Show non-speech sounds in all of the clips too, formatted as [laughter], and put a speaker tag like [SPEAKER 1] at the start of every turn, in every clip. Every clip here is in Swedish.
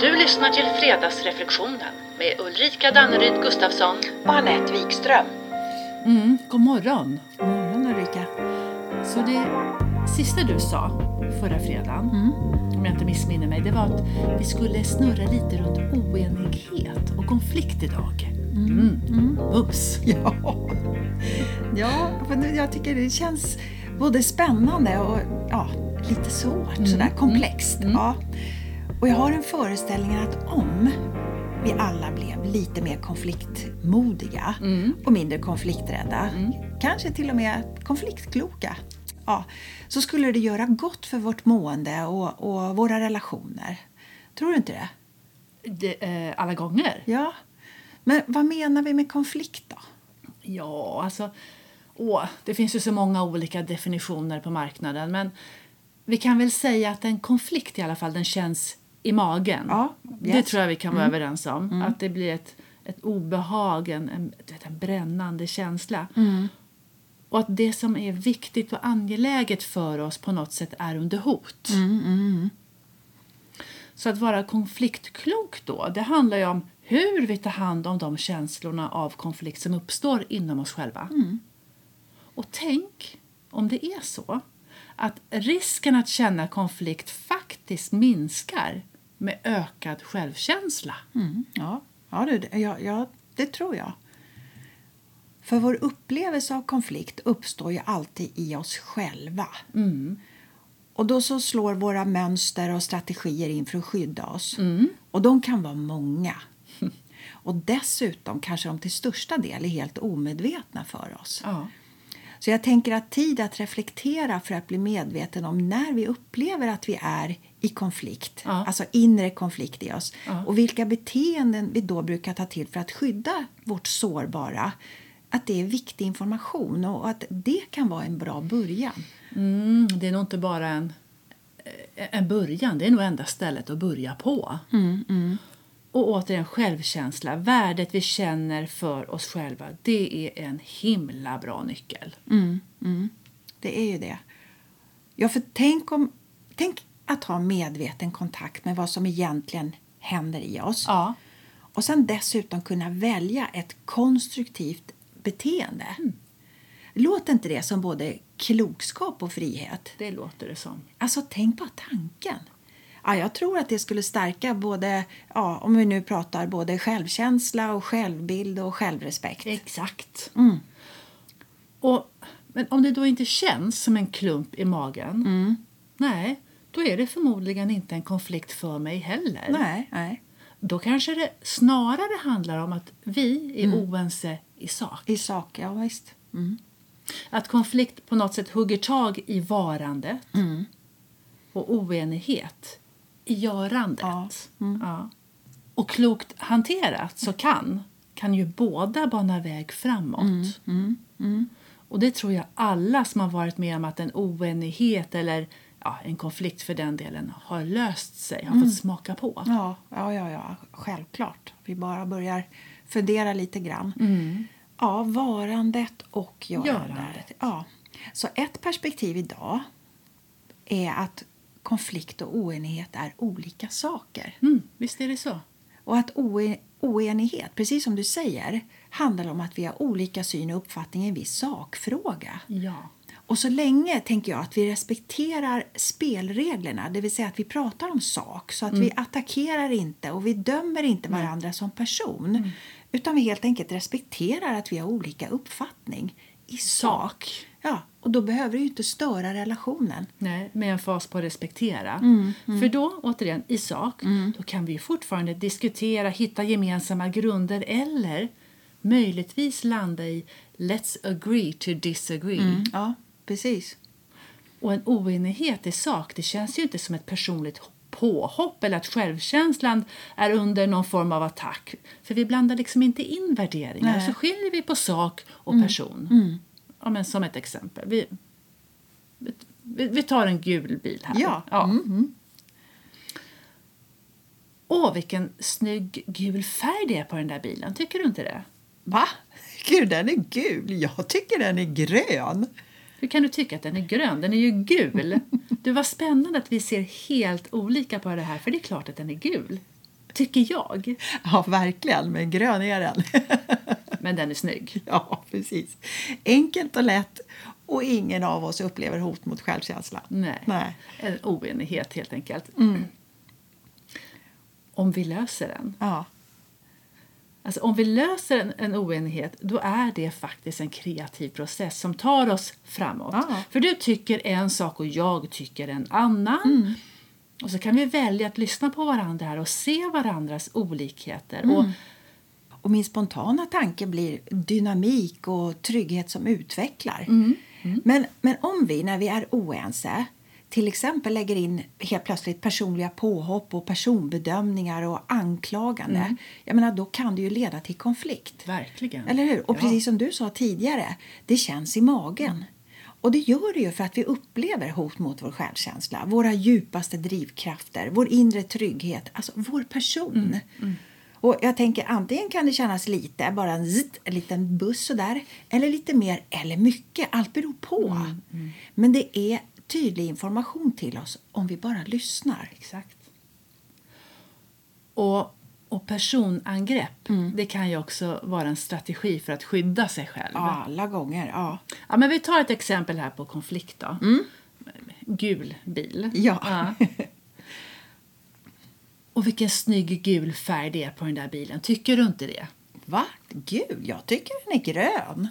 [SPEAKER 1] Du lyssnar till Fredagsreflektionen med Ulrika Danneryd Gustafsson.
[SPEAKER 2] och Anette Wikström.
[SPEAKER 3] Mm, god morgon.
[SPEAKER 2] Morgon Ulrika.
[SPEAKER 3] Så det sista du sa förra fredagen, om jag inte missminner mig, det var att vi skulle snurra lite runt oenighet och konflikt idag. Mm. Ups!
[SPEAKER 2] [laughs] Ja. ja, men nu- jag tycker det känns både spännande och ja, lite svårt, sådär komplext. Ja. Och jag har en föreställning att om vi alla blev lite mer konfliktmodiga och mindre konflikträdda, kanske till och med konfliktkloka, ja, så skulle det göra gott för vårt mående och, och våra relationer. Tror du inte det?
[SPEAKER 3] Det, eh, alla gånger.
[SPEAKER 2] Ja. Men vad menar vi med konflikt då?
[SPEAKER 3] Ja, alltså... Åh, det finns ju så många olika definitioner på marknaden men vi kan väl säga att en konflikt i alla fall, den känns i magen.
[SPEAKER 2] Ja,
[SPEAKER 3] Det
[SPEAKER 2] yes. Mm.
[SPEAKER 3] tror jag vi kan vara överens om. Att det blir ett, ett obehag, en, en, du vet, en brännande känsla.
[SPEAKER 2] Mm.
[SPEAKER 3] Och att det som är viktigt och angeläget för oss på något sätt är under hot. Så att vara konfliktklok då, det handlar ju om hur vi tar hand om de känslorna av konflikt som uppstår inom oss själva. Och tänk om det är så att risken att känna konflikt faktiskt minskar med ökad självkänsla.
[SPEAKER 2] Mm, ja, ja, du, det- ja, ja, det tror jag. För vår upplevelse av konflikt uppstår ju alltid i oss själva. Och då så slår våra mönster och strategier in för att skydda oss.
[SPEAKER 3] Mm.
[SPEAKER 2] Och de kan
[SPEAKER 3] [laughs]
[SPEAKER 2] vara många. Och dessutom kanske de till största del är helt omedvetna för oss.
[SPEAKER 3] Ja.
[SPEAKER 2] Så jag tänker att tid att reflektera för att bli medveten om när vi upplever att vi är i konflikt,
[SPEAKER 3] Ja.
[SPEAKER 2] alltså inre konflikt i oss
[SPEAKER 3] Ja.
[SPEAKER 2] och vilka beteenden vi då brukar ta till för att skydda vårt sårbara. Att det är viktig information och att det kan vara en bra början.
[SPEAKER 3] Mm, det är nog inte bara en, eh, en början, det är nog enda stället att börja på. Och återigen självkänsla, värdet vi känner för oss själva, det är en himla bra nyckel.
[SPEAKER 2] Det är ju det. Ja, för tänk, om, tänk att ha medveten kontakt med vad som egentligen händer i oss.
[SPEAKER 3] Ja.
[SPEAKER 2] Och sen dessutom kunna välja ett konstruktivt beteende. Låter inte det som både klokskap och frihet?
[SPEAKER 3] Det låter det som.
[SPEAKER 2] Alltså, tänk bara tanken. Ja, jag tror att det skulle stärka både, ja, om vi nu pratar både självkänsla och självbild och självrespekt.
[SPEAKER 3] Exakt. Och, men om det då inte känns som en klump i magen, nej, då är det förmodligen inte en konflikt för mig heller.
[SPEAKER 2] Nej, nej.
[SPEAKER 3] Då kanske det snarare handlar om att vi är oense i sak.
[SPEAKER 2] I sak, ja visst.
[SPEAKER 3] Att konflikt på något sätt hugger tag i varandet
[SPEAKER 2] Mm.
[SPEAKER 3] och oenighet i görandet.
[SPEAKER 2] Ja. Mm.
[SPEAKER 3] Ja. Och klokt hanterat så kan, kan ju båda bana väg framåt.
[SPEAKER 2] Mm.
[SPEAKER 3] Och det tror jag alla som har varit med om att en oenighet eller ja, en konflikt för den delen har löst sig, har fått smaka på.
[SPEAKER 2] Mm. Ja, ja, ja, ja, självklart. Vi bara börjar fundera lite grann. Ja, varandet och görandet.
[SPEAKER 3] Görandet.
[SPEAKER 2] Ja. Så ett perspektiv idag är att konflikt och oenighet är olika saker.
[SPEAKER 3] Mm, visst är det så?
[SPEAKER 2] Och att oe- oenighet, precis som du säger, handlar om att vi har olika syn och uppfattning i en viss sakfråga.
[SPEAKER 3] Ja.
[SPEAKER 2] Och så länge tänker jag att vi respekterar spelreglerna, det vill säga att vi pratar om sak så att vi attackerar inte och vi dömer inte varandra som person utan vi helt enkelt respekterar att vi har olika uppfattning i sak.
[SPEAKER 3] Sak.
[SPEAKER 2] Ja, och då behöver det ju inte störa relationen.
[SPEAKER 3] Nej, med en fas på att respektera. För då, återigen, i sak, då kan vi ju fortfarande diskutera, hitta gemensamma grunder eller möjligtvis landa i let's agree to disagree.
[SPEAKER 2] Ja, precis.
[SPEAKER 3] Och en oenighet i sak, det känns ju inte som ett personligt påhopp eller att självkänslan är under någon form av attack. För vi blandar liksom inte in värderingar,
[SPEAKER 2] Nej. Mm.
[SPEAKER 3] så skiljer vi på sak och person. Ja, men som ett exempel. Vi, vi, vi tar en gul bil här.
[SPEAKER 2] Ja. Mm,
[SPEAKER 3] Åh, vilken snygg gul färg det är på den där bilen. Tycker du inte det?
[SPEAKER 2] Va? Gud, den är gul. Jag tycker den är grön.
[SPEAKER 3] Hur kan du tycka att den är grön? Den är ju
[SPEAKER 2] [laughs]
[SPEAKER 3] gul! Du, vad spännande att vi ser helt olika på det här, för det är klart att den är gul. tycker jag.
[SPEAKER 2] Ja, verkligen. Men grön är den. [laughs]
[SPEAKER 3] Men den är snygg.
[SPEAKER 2] ja, precis. Enkelt och lätt och ingen av oss upplever hot mot självkänslan.
[SPEAKER 3] Nej.
[SPEAKER 2] Nej. Mm.
[SPEAKER 3] En oenighet helt enkelt. Om vi löser den.
[SPEAKER 2] Ja.
[SPEAKER 3] Alltså, om vi löser en, en oenighet då är det faktiskt en kreativ process som tar oss framåt.
[SPEAKER 2] Ja.
[SPEAKER 3] För du tycker en sak och jag tycker en annan.
[SPEAKER 2] Mm.
[SPEAKER 3] Och så kan vi välja att lyssna på varandra här och se varandras olikheter. Och,
[SPEAKER 2] Mm. Och min spontana tanke blir dynamik och trygghet som utvecklar.
[SPEAKER 3] Mm.
[SPEAKER 2] Men, men om vi, när vi är oense, till exempel lägger in helt plötsligt personliga påhopp och personbedömningar och anklagande, jag menar, då kan det ju leda till konflikt.
[SPEAKER 3] Mm. Verkligen.
[SPEAKER 2] Eller hur? Och
[SPEAKER 3] Ja.
[SPEAKER 2] precis som du sa tidigare, det känns i magen. Och det gör det ju för att vi upplever hot mot vår självkänsla, våra djupaste drivkrafter, vår inre trygghet, alltså vår person. Och jag tänker antingen kan det kännas lite, bara en, zitt, en liten buss sådär, eller lite mer eller mycket, allt beror på. Men det är tydlig information till oss om vi bara lyssnar.
[SPEAKER 3] Exakt. Och, och personangrepp
[SPEAKER 2] Mm.
[SPEAKER 3] det kan ju också vara en strategi för att skydda sig själv.
[SPEAKER 2] Alla gånger, ja.
[SPEAKER 3] Ja, men vi tar ett exempel här på konflikt. Då. Gul bil.
[SPEAKER 2] Mm. Ja.
[SPEAKER 3] Och vilken snygg gul färg det är på den där bilen. Tycker du inte det?
[SPEAKER 2] Va? Gud, jag tycker den är grön.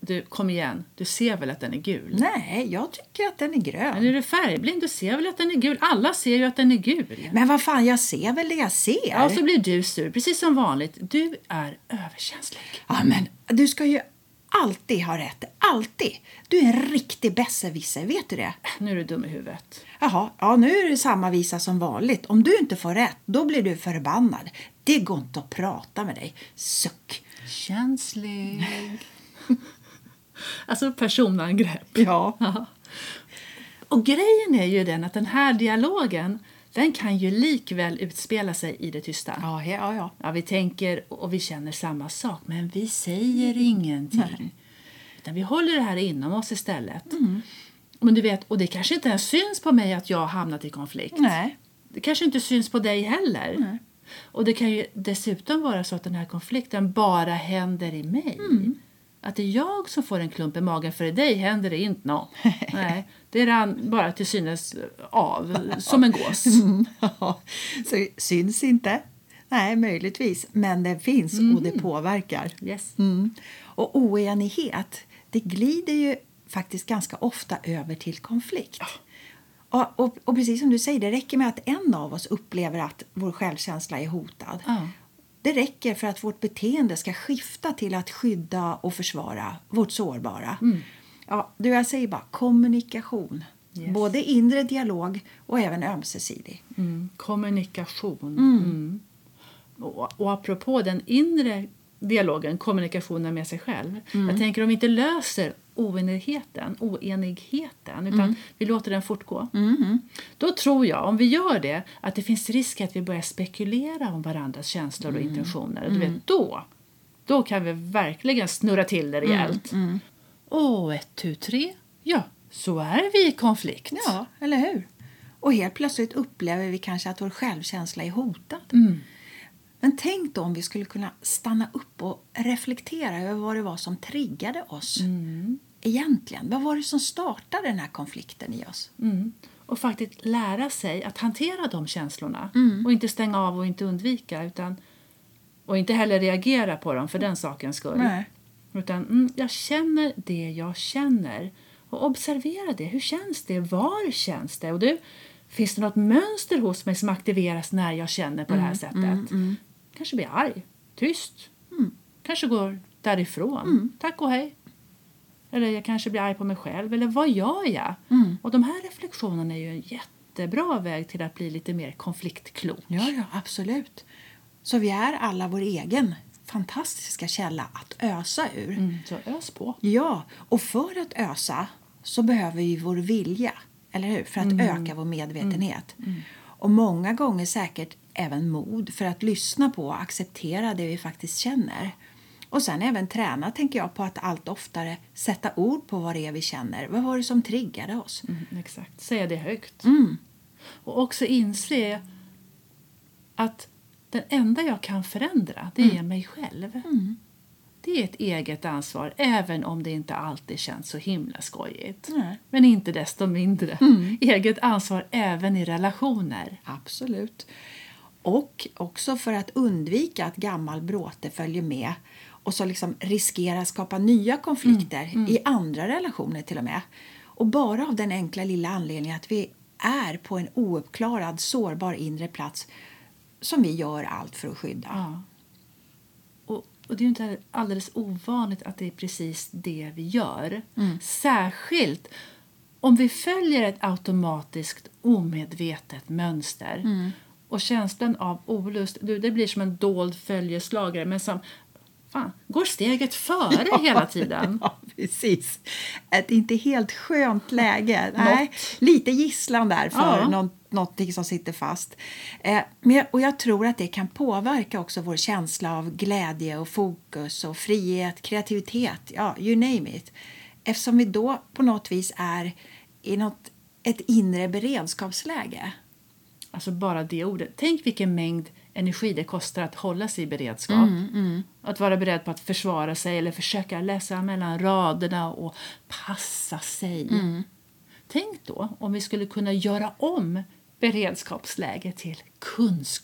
[SPEAKER 3] Du, kom igen. Du ser väl att den är gul?
[SPEAKER 2] Nej, jag tycker att den är grön.
[SPEAKER 3] Men är du färgblind? Du ser väl att den är gul? Alla ser ju att den är gul.
[SPEAKER 2] Men vad fan, jag ser väl det jag ser?
[SPEAKER 3] Ja, och så blir du sur, precis som vanligt. Du är överkänslig.
[SPEAKER 2] Ja, men du ska ju alltid ha rätt. Alltid. Du är en riktig besserwisser, vet du det?
[SPEAKER 3] Äh, Nu är du dum i huvudet.
[SPEAKER 2] Jaha, ja, nu är det samma visa som vanligt. Om du inte får rätt, då blir du förbannad. Det går inte att prata med dig. Suck.
[SPEAKER 3] Känslig. alltså personangrepp.
[SPEAKER 2] Ja.
[SPEAKER 3] Och grejen är ju den att den här dialogen den kan ju likväl utspela sig i det tysta.
[SPEAKER 2] Ja, he- ja, ja.
[SPEAKER 3] Ja, vi tänker och vi känner samma sak, men vi säger ingenting. Utan vi håller det här inom oss istället. Men du vet, och det kanske inte ens syns på mig att jag har hamnat i konflikt.
[SPEAKER 2] Nej.
[SPEAKER 3] Det kanske inte syns på dig heller. Och det kan ju dessutom vara så att den här konflikten bara händer i mig. Att det är jag som får en klump i magen, för i dig händer det inte nå. Nej, det rann bara till synes av, som en gås.
[SPEAKER 2] [laughs] Ja, Så syns inte. Nej, möjligtvis. Men den finns och det påverkar.
[SPEAKER 3] Yes.
[SPEAKER 2] Mm. Och oenighet, det glider ju faktiskt ganska ofta över till konflikt. Och, och, och precis som du säger, det räcker med att en av oss upplever att vår självkänsla är hotad.
[SPEAKER 3] Ja.
[SPEAKER 2] Det räcker för att vårt beteende ska skifta till att skydda och försvara vårt sårbara. Ja, du, jag säger bara kommunikation.
[SPEAKER 3] Yes.
[SPEAKER 2] Både inre dialog och även ömsesidig.
[SPEAKER 3] Mm. Kommunikation. Mm. Och, och apropå den inre dialogen, kommunikationen med sig själv. Jag tänker om vi inte löser oenigheten, oenigheten utan vi låter den fortgå. Då tror jag, om vi gör det, att det finns risk att vi börjar spekulera om varandras känslor och intentioner. Du vet, då, då kan vi verkligen snurra till det rejält. Och ett, tu, tre, ja, så är vi i konflikt.
[SPEAKER 2] Ja, eller hur? Och helt plötsligt upplever vi kanske att vår självkänsla är hotad. Men tänk då om vi skulle kunna stanna upp och reflektera över vad det var som triggade oss. Mm. Egentligen, vad var det som startade den här konflikten i oss?
[SPEAKER 3] Mm. Och faktiskt lära sig att hantera de känslorna. Och inte stänga av och inte undvika. Utan, och inte heller reagera på dem för den sakens skull.
[SPEAKER 2] Nej.
[SPEAKER 3] Utan mm, jag känner det jag känner. Och observera det. Hur känns det? Var känns det? Och du, finns det något mönster hos mig som aktiveras när jag känner på det här sättet? Kanske blir arg, tyst, kanske går därifrån. Tack och hej. Eller jag kanske blir arg på mig själv. Eller vad gör jag?
[SPEAKER 2] Mm.
[SPEAKER 3] Och de här reflektionerna är ju en jättebra väg till att bli lite mer konfliktklok.
[SPEAKER 2] Ja, ja, absolut. Så vi är alla vår egen fantastiska källa att ösa ur.
[SPEAKER 3] Mm, så ös på.
[SPEAKER 2] Ja, och för att ösa så behöver vi vår vilja, eller hur? För att öka vår medvetenhet. Och många gånger säkert även mod för att lyssna på och acceptera det vi faktiskt känner. Och sen även träna, tänker jag, på att allt oftare sätta ord på vad det är vi känner. Vad var det som triggade oss? Mm.
[SPEAKER 3] Mm, exakt. Säga det högt. Och också inse att den enda jag kan förändra, det
[SPEAKER 2] Mm.
[SPEAKER 3] är mig själv. Det är ett eget ansvar, även om det inte alltid känns så himla skojigt.
[SPEAKER 2] Nej. Mm.
[SPEAKER 3] Men inte desto mindre. Eget ansvar även i relationer.
[SPEAKER 2] Absolut. Och också för att undvika att gammal bråte följer med och så liksom riskerar skapa nya konflikter i andra relationer till och med. Och bara av den enkla lilla anledningen att vi är på en ouppklarad sårbar inre plats som vi gör allt för att skydda.
[SPEAKER 3] Ja. Och, och det är ju inte alldeles ovanligt att det är precis det vi gör. Särskilt om vi följer ett automatiskt omedvetet mönster. Och känslan av olust, du, det blir som en dold följeslagare men som fan, går steget före hela tiden.
[SPEAKER 2] [laughs] Ja, precis. Ett inte helt skönt läge. Nej, lite gisslan där för
[SPEAKER 3] Ja.
[SPEAKER 2] någon, någonting som sitter fast. Eh, men, jag- och jag tror att det kan påverka också vår känsla av glädje och fokus och frihet, kreativitet, ja, you name it. Eftersom vi då på något vis är i något, ett inre beredskapsläge.
[SPEAKER 3] Alltså bara det ordet. Tänk vilken mängd energi det kostar att hålla sig i beredskap. Att vara beredd på att försvara sig eller försöka läsa mellan raderna och passa sig. Tänk då om vi skulle kunna göra om beredskapsläge till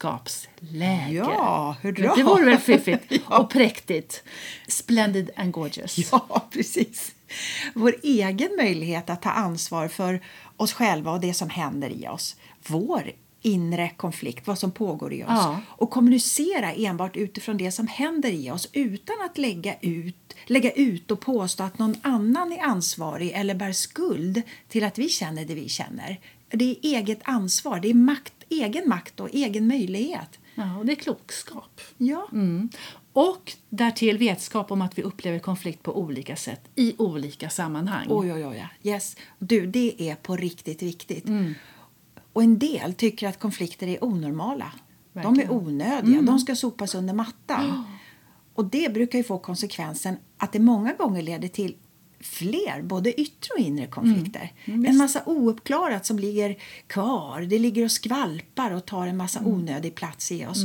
[SPEAKER 3] kunskapsläge.
[SPEAKER 2] Ja, hurra!
[SPEAKER 3] Det vore väl fiffigt och präktigt. Splendid and gorgeous.
[SPEAKER 2] [laughs] Ja, precis. Vår egen möjlighet att ta ansvar för oss själva och det som händer i oss. Vår inre konflikt, vad som pågår i oss.
[SPEAKER 3] Ja.
[SPEAKER 2] Och kommunicera enbart utifrån det som händer i oss utan att lägga ut, lägga ut och påstå att någon annan är ansvarig eller bär skuld till att vi känner det vi känner. Det är eget ansvar, det är makt, egen makt och egen möjlighet.
[SPEAKER 3] Ja, och det är klokskap.
[SPEAKER 2] Ja,
[SPEAKER 3] Mm. Och därtill vetskap om att vi upplever konflikt på olika sätt i olika sammanhang.
[SPEAKER 2] Oj, oj, oj. ja. Yes. Du, det är på riktigt viktigt. Och en del tycker att konflikter är onormala. De
[SPEAKER 3] Verkligen.
[SPEAKER 2] är onödiga. De ska sopas under mattan. Och det brukar ju få konsekvensen att det många gånger leder till fler både yttre och inre konflikter. en massa ouppklarat som ligger kvar. Det ligger och skvalpar och tar en massa onödig plats i oss.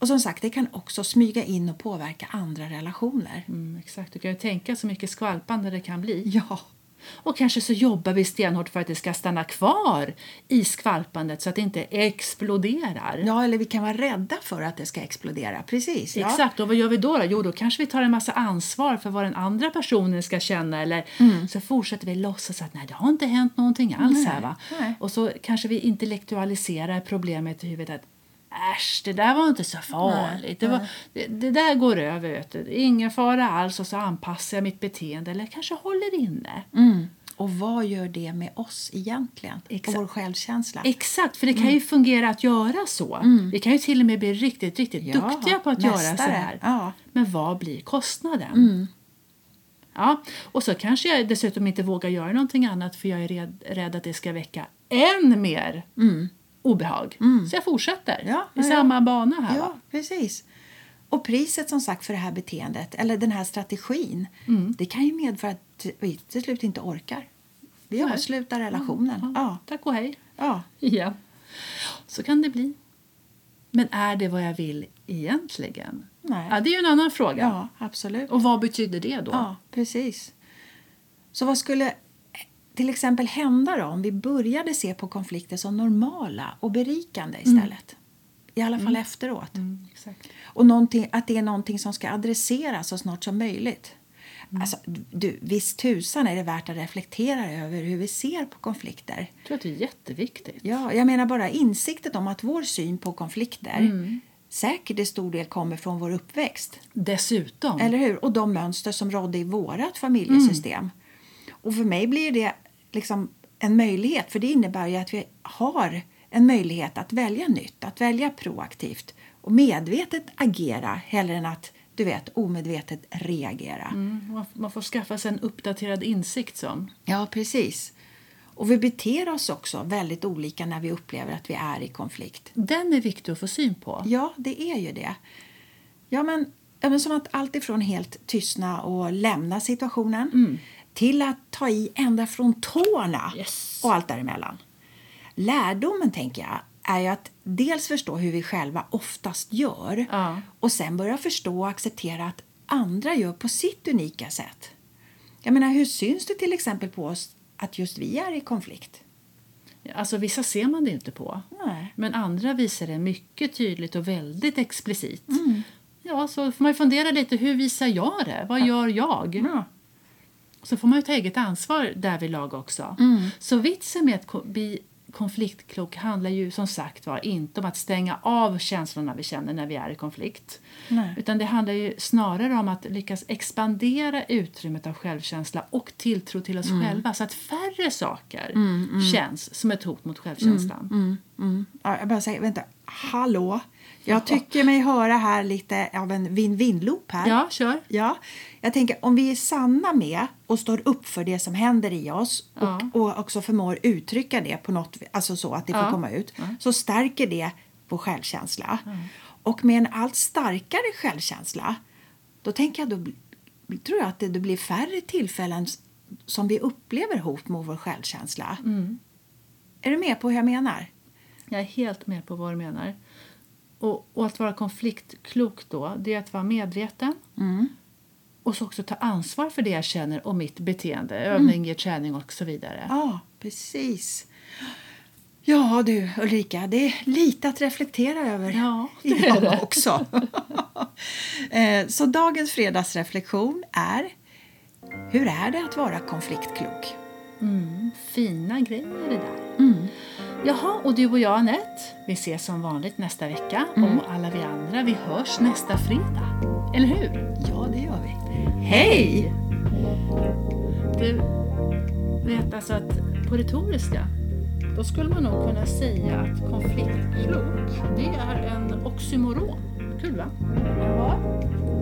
[SPEAKER 2] Och som sagt, det kan också smyga in och påverka andra relationer.
[SPEAKER 3] Mm, exakt, du kan ju tänka så mycket skvalpande det kan bli.
[SPEAKER 2] Ja.
[SPEAKER 3] Och kanske så jobbar vi stenhårt för att det ska stanna kvar i skvalpandet så att det inte exploderar.
[SPEAKER 2] Ja, eller vi kan vara rädda för att det ska explodera. Precis. Ja.
[SPEAKER 3] Exakt, och vad gör vi då, då? Jo, då kanske vi tar en massa ansvar för vad den andra personen ska känna eller så fortsätter vi låtsas att nej, det har inte hänt någonting alls här va.
[SPEAKER 2] Mm. nej.
[SPEAKER 3] Och så kanske vi intellektualiserar problemet i huvudet att äsch, det där var inte så farligt. det, var, det, det där går över, vet du. Det är ingen fara alls och så anpassar jag mitt beteende eller kanske håller inne.
[SPEAKER 2] Mm. Och vad gör det med oss egentligen?
[SPEAKER 3] Exakt.
[SPEAKER 2] Och vår självkänsla?
[SPEAKER 3] Exakt, för det
[SPEAKER 2] Mm.
[SPEAKER 3] kan ju fungera att göra så. Vi kan ju till och med bli riktigt, riktigt
[SPEAKER 2] Ja,
[SPEAKER 3] duktiga på att göra så
[SPEAKER 2] mästare.
[SPEAKER 3] här.
[SPEAKER 2] Ja. Mm.
[SPEAKER 3] Men vad blir kostnaden? Ja, och så kanske jag dessutom inte vågar göra någonting annat för jag är red, rädd att det ska väcka än mer obehag. Så jag fortsätter
[SPEAKER 2] Mm. Ja,
[SPEAKER 3] i
[SPEAKER 2] ja, ja.
[SPEAKER 3] samma bana här. va?
[SPEAKER 2] ja, precis. Och priset som sagt för det här beteendet, eller den här strategin, det kan ju medföra att vi till slut inte orkar. Vi
[SPEAKER 3] Nej.
[SPEAKER 2] avslutar relationen. Ja.
[SPEAKER 3] Tack och hej. [laughs]
[SPEAKER 2] Ja.
[SPEAKER 3] Ja. Så kan det bli. Men är det vad jag vill egentligen?
[SPEAKER 2] Nej.
[SPEAKER 3] Ja, det är ju en annan fråga.
[SPEAKER 2] ja, absolut.
[SPEAKER 3] Och vad betyder det då?
[SPEAKER 2] Ja, precis. Så vad skulle till exempel hända då om vi började se på konflikter som normala och berikande istället? I alla fall efteråt.
[SPEAKER 3] Mm, exakt.
[SPEAKER 2] Och någonting- att det är någonting som ska adresseras så snart som möjligt.
[SPEAKER 3] Mm.
[SPEAKER 2] Alltså, du, visst tusan är det värt att reflektera över hur vi ser på konflikter.
[SPEAKER 3] Jag tror att det är jätteviktigt.
[SPEAKER 2] Ja, jag menar bara insikten om att vår syn på konflikter
[SPEAKER 3] Mm.
[SPEAKER 2] säkert i stor del kommer från vår uppväxt.
[SPEAKER 3] Dessutom.
[SPEAKER 2] Eller hur? Och de mönster som rådde i vårat familjesystem. Och för mig blir det liksom en möjlighet, för det innebär ju att vi har en möjlighet att välja nytt, att välja proaktivt och medvetet agera hellre än att du vet, omedvetet reagera.
[SPEAKER 3] Mm, man- man får skaffa sig en uppdaterad insikt som.
[SPEAKER 2] Ja, precis. Och vi beter oss också väldigt olika när vi upplever att vi är i konflikt.
[SPEAKER 3] Den är viktig att få syn på.
[SPEAKER 2] Ja, det är ju det. Ja, men, ja, men som att allt ifrån helt tystna och lämna situationen
[SPEAKER 3] Mm.
[SPEAKER 2] till att ta i ända från tårna
[SPEAKER 3] Yes.
[SPEAKER 2] och allt däremellan. Lärdomen, tänker jag, är ju att dels förstå hur vi själva oftast gör
[SPEAKER 3] Ja.
[SPEAKER 2] och sen börja förstå och acceptera att andra gör på sitt unika sätt. Jag menar, hur syns det till exempel på oss att just vi är i konflikt?
[SPEAKER 3] Alltså vissa ser man det ju inte på.
[SPEAKER 2] Nej.
[SPEAKER 3] Men andra visar det mycket tydligt och väldigt explicit.
[SPEAKER 2] Mm.
[SPEAKER 3] Ja, så får man ju fundera lite, hur visar jag det? Vad gör jag? Så får man ju ta eget ansvar därvidlag också. Så vitsen med att ko- bli konfliktklok handlar ju som sagt var inte om att stänga av känslorna vi känner när vi är i konflikt.
[SPEAKER 2] Nej.
[SPEAKER 3] Utan det handlar ju snarare om att lyckas expandera utrymmet av självkänsla och tilltro till oss själva så att färre saker känns som ett hot mot självkänslan.
[SPEAKER 2] Mm. Ja, jag bara säger, vänta, hallå? Jag tycker mig höra här lite av en vin-vin-loop här.
[SPEAKER 3] Ja, kör.
[SPEAKER 2] Ja, jag tänker om vi är sanna med och står upp för det som händer i oss
[SPEAKER 3] Ja.
[SPEAKER 2] och, och också förmår uttrycka det på något, alltså så att det får
[SPEAKER 3] Ja.
[SPEAKER 2] komma ut, så stärker det vår självkänsla. Och med en allt starkare självkänsla, då tänker jag då bl- tror jag att det, det blir färre tillfällen s- som vi upplever hot mot vår självkänsla.
[SPEAKER 3] Mm.
[SPEAKER 2] Är du med på hur jag menar?
[SPEAKER 3] Jag är helt med på vad du menar. Och, och att vara konfliktklok då, det är att vara medveten. Och så också ta ansvar för det jag känner och mitt beteende. Övning ger träning och så vidare.
[SPEAKER 2] Ja, precis. Ja du Ulrika, det är lite att reflektera över
[SPEAKER 3] Ja, det är
[SPEAKER 2] idag
[SPEAKER 3] det.
[SPEAKER 2] också. [laughs] Eh, Så dagens fredagsreflektion är Hur är det att vara konfliktklok?
[SPEAKER 3] Fina grejer det där. Jaha, och du och jag Anette, vi ses som vanligt nästa vecka. Och alla vi andra, vi hörs nästa fredag. Eller hur?
[SPEAKER 2] Ja, det gör vi.
[SPEAKER 3] Hej! Du vet alltså att på retoriska då skulle man nog kunna säga att konfliktklok det är en oxymoron. Kul va?
[SPEAKER 2] Ja,
[SPEAKER 3] Alltså,